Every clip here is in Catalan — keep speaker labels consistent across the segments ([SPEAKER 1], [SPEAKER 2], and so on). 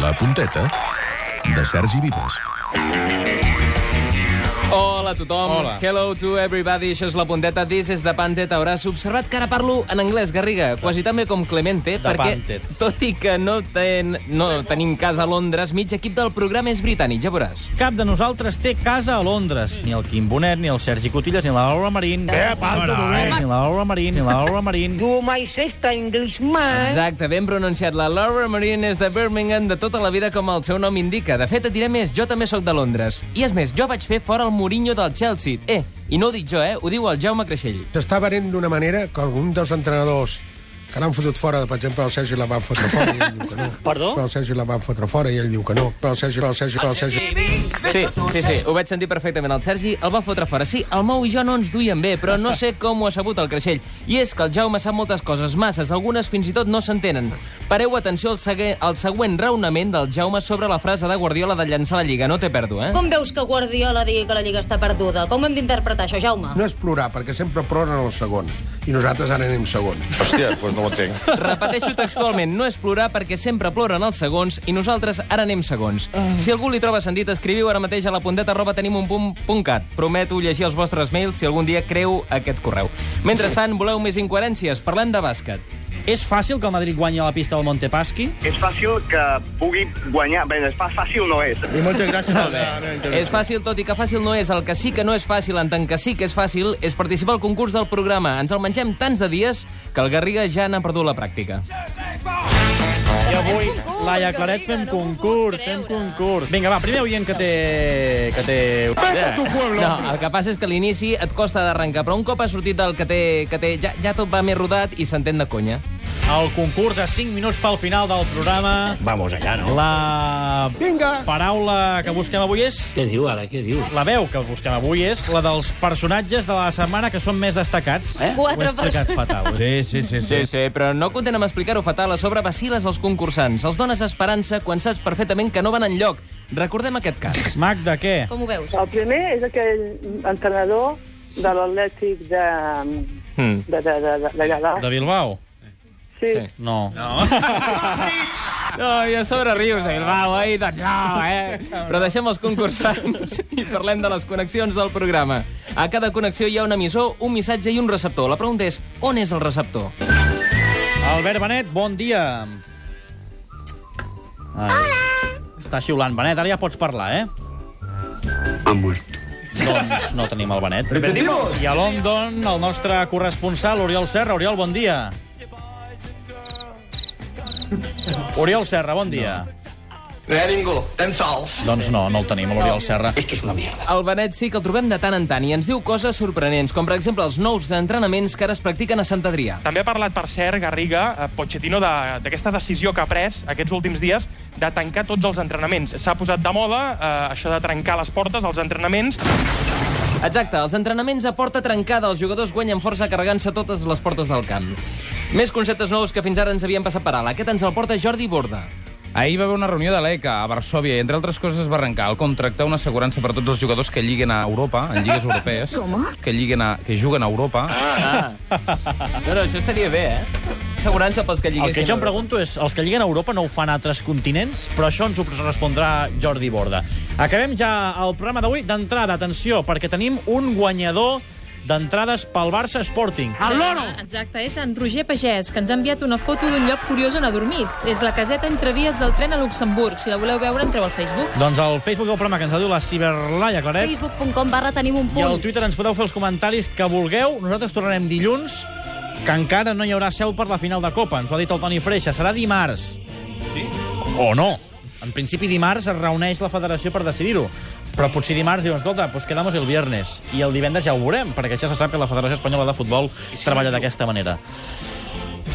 [SPEAKER 1] La punteta de Sergi Vives.
[SPEAKER 2] Hola a tothom.
[SPEAKER 3] Hola.
[SPEAKER 2] Hello to everybody. Això és La Punteta. This is The Pantet. Hauràs observat que ara parlo en anglès, Garriga, quasi tan bé com Clemente, perquè,
[SPEAKER 3] Pantet.
[SPEAKER 2] tot i que no, ten, no tenim casa a Londres, mig equip del programa és britànic, ja veuràs.
[SPEAKER 3] Cap de nosaltres té casa a Londres. Ni el Quim Bonet, ni el Sergi Cotillas, ni la Laura Marín. Eh, palto, Ni la Laura Marín, ni la Laura Marín.
[SPEAKER 4] You my sister Englishman.
[SPEAKER 2] Exacte, ben pronunciat. La Laura Marine és de Birmingham de tota la vida, com el seu nom indica. De fet, et diré més, jo també sóc de Londres. I és més, jo vaig fer fora el Mourinho del Chelsea. Eh, i no ho dic jo, eh? Ho diu el Jaume Creixell.
[SPEAKER 5] s'està venent d'una manera que algun dels entrenadors que l'han fotut fora, per exemple, el Sergi la van fotre fora i ell diu que no. Perdó? Però el Sergi la van fotre fora i ell diu que no. Però el Sergi, però el Sergi, però el Sergi...
[SPEAKER 2] Sí, sí, sí, ho vaig sentir perfectament. El Sergi el va fotre fora. Sí, el Mou i jo no ens duien bé, però no sé com ho ha sabut el Creixell. I és que el Jaume sap moltes coses, masses, algunes fins i tot no s'entenen. Pareu atenció al, segue, al següent raonament del Jaume sobre la frase de Guardiola de llançar la Lliga. No té perdo, eh?
[SPEAKER 6] Com veus que Guardiola digui que la Lliga està perduda? Com ho hem d'interpretar, això, Jaume?
[SPEAKER 5] No és plorar, perquè sempre ploren els segons. I nosaltres ara anem segons.
[SPEAKER 7] Hòstia, doncs pues no ho entenc.
[SPEAKER 2] Repeteixo textualment, no és plorar perquè sempre ploren els segons i nosaltres ara anem segons. Si algú li troba sentit, escriviu ara mateix a la punteta arroba tenim un punt, punt cat. Prometo llegir els vostres mails si algun dia creu aquest correu. Mentrestant, voleu més incoherències? Parlem de bàsquet.
[SPEAKER 3] És fàcil que el Madrid guanyi a la pista del Montepaschi?
[SPEAKER 8] és fàcil que pugui guanyar. Bé, és fa- fàcil no és.
[SPEAKER 2] És fàcil, tot i que fàcil no és. El que sí que no és fàcil, en tant que sí que és fàcil, és participar al concurs del programa. Ens el mengem tants de dies que el Garriga ja n'ha perdut la pràctica.
[SPEAKER 3] I avui,
[SPEAKER 6] Fem concurs,
[SPEAKER 3] Laia Claret, fem
[SPEAKER 6] Garriga, no m'ho puc
[SPEAKER 3] concurs, fem
[SPEAKER 6] creure.
[SPEAKER 3] concurs. Vinga, va, primer oient que té... Que té...
[SPEAKER 2] No, el que passa és que a l'inici et costa d'arrencar, però un cop ha sortit del que té... Que té ja, ja tot va més rodat i s'entén de conya.
[SPEAKER 3] El concurs a 5 minuts pel final del programa.
[SPEAKER 7] Vamos allá, no?
[SPEAKER 3] La
[SPEAKER 5] Vinga!
[SPEAKER 3] paraula que busquem avui és...
[SPEAKER 9] Què diu ara, què diu?
[SPEAKER 3] La veu que busquem avui és la dels personatges de la setmana que són més destacats. Eh?
[SPEAKER 6] Quatre
[SPEAKER 3] persones. fatal.
[SPEAKER 1] Sí, sí, sí. sí.
[SPEAKER 2] Sí, sí, però no content amb explicar-ho fatal, a sobre vaciles els concursants. Els dones esperança quan saps perfectament que no van en lloc. Recordem aquest cas.
[SPEAKER 3] Magda, què?
[SPEAKER 6] Com ho veus?
[SPEAKER 10] El primer és aquell entrenador de l'Atlètic de...
[SPEAKER 2] Mm.
[SPEAKER 10] de, de, de, de, de, de,
[SPEAKER 3] De Bilbao?
[SPEAKER 10] Sí.
[SPEAKER 2] sí.
[SPEAKER 3] No. no.
[SPEAKER 2] No, i a sobre rius, eh? Va, oi, doncs no, eh? Però deixem els concursants i parlem de les connexions del programa. A cada connexió hi ha un emissor, un missatge i un receptor. La pregunta és, on és el receptor?
[SPEAKER 3] Albert Benet, bon dia. Ai. Hola. Està xiulant, Benet, ara ja pots parlar, eh? Ha mort. Doncs no tenim el Benet. Repetimos. I a London, el nostre corresponsal, Oriol Serra. Oriol, bon dia. Oriol Serra, bon dia.
[SPEAKER 8] No hi ha ningú, estem sols.
[SPEAKER 3] Doncs no, no el tenim, l'Oriol Serra.
[SPEAKER 2] El Benet sí que el trobem de tant en tant i ens diu coses sorprenents, com per exemple els nous entrenaments que ara es practiquen a Sant Adrià.
[SPEAKER 11] També ha parlat, per cert, Garriga, eh, Pochettino, de- d'aquesta decisió que ha pres aquests últims dies de tancar tots els entrenaments. S'ha posat de moda eh, això de trencar les portes als entrenaments.
[SPEAKER 2] Exacte, els entrenaments a porta trencada, els jugadors guanyen força carregant-se totes les portes del camp. Més conceptes nous que fins ara ens havien passat per alt. Aquest ens el porta Jordi Borda.
[SPEAKER 12] Ahir va haver una reunió de l'ECA a Varsovia i, entre altres coses, es va arrencar el contractar una assegurança per a tots els jugadors que lliguen a Europa, en lligues europees, que, lliguen a, que juguen a Europa.
[SPEAKER 2] Ah. No, no, això estaria bé, eh? Assegurança pels que
[SPEAKER 3] El
[SPEAKER 2] lliguessin.
[SPEAKER 3] que jo em pregunto és, els que lliguen a Europa no ho fan a altres continents? Però això ens ho respondrà Jordi Borda. Acabem ja el programa d'avui d'entrada, atenció, perquè tenim un guanyador d'entrades pel Barça Sporting.
[SPEAKER 11] Al loro!
[SPEAKER 6] Exacte, és en Roger Pagès, que ens ha enviat una foto d'un lloc curiós on ha dormit. És la caseta entre vies del tren a Luxemburg. Si la voleu veure, entreu al Facebook.
[SPEAKER 3] Doncs el Facebook del programa que ens ha diu la Ciberlaia Claret
[SPEAKER 6] Facebook.com barra tenim un
[SPEAKER 3] i al Twitter ens podeu fer els comentaris que vulgueu. Nosaltres tornarem dilluns, que encara no hi haurà seu per la final de Copa. Ens ho ha dit el Toni Freixa. Serà dimarts. Sí? O no. En principi dimarts es reuneix la federació per decidir-ho. Però potser dimarts diuen, escolta, pues quedamos el viernes. I el divendres ja ho veurem, perquè ja se sap que la Federació Espanyola de Futbol treballa d'aquesta manera.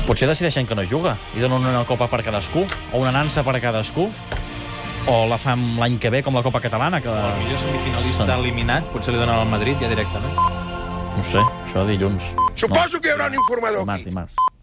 [SPEAKER 3] Potser decideixen que no juga i donen una copa per cadascú, o una nansa per a cadascú, o la fan l'any que ve, com la Copa Catalana. Que... O el millor semifinalista
[SPEAKER 9] eliminat, potser li donen al Madrid ja directament.
[SPEAKER 3] No ho sé, això dilluns.
[SPEAKER 7] Suposo que hi haurà un informador
[SPEAKER 3] Dimarts,
[SPEAKER 7] aquí.
[SPEAKER 3] dimarts.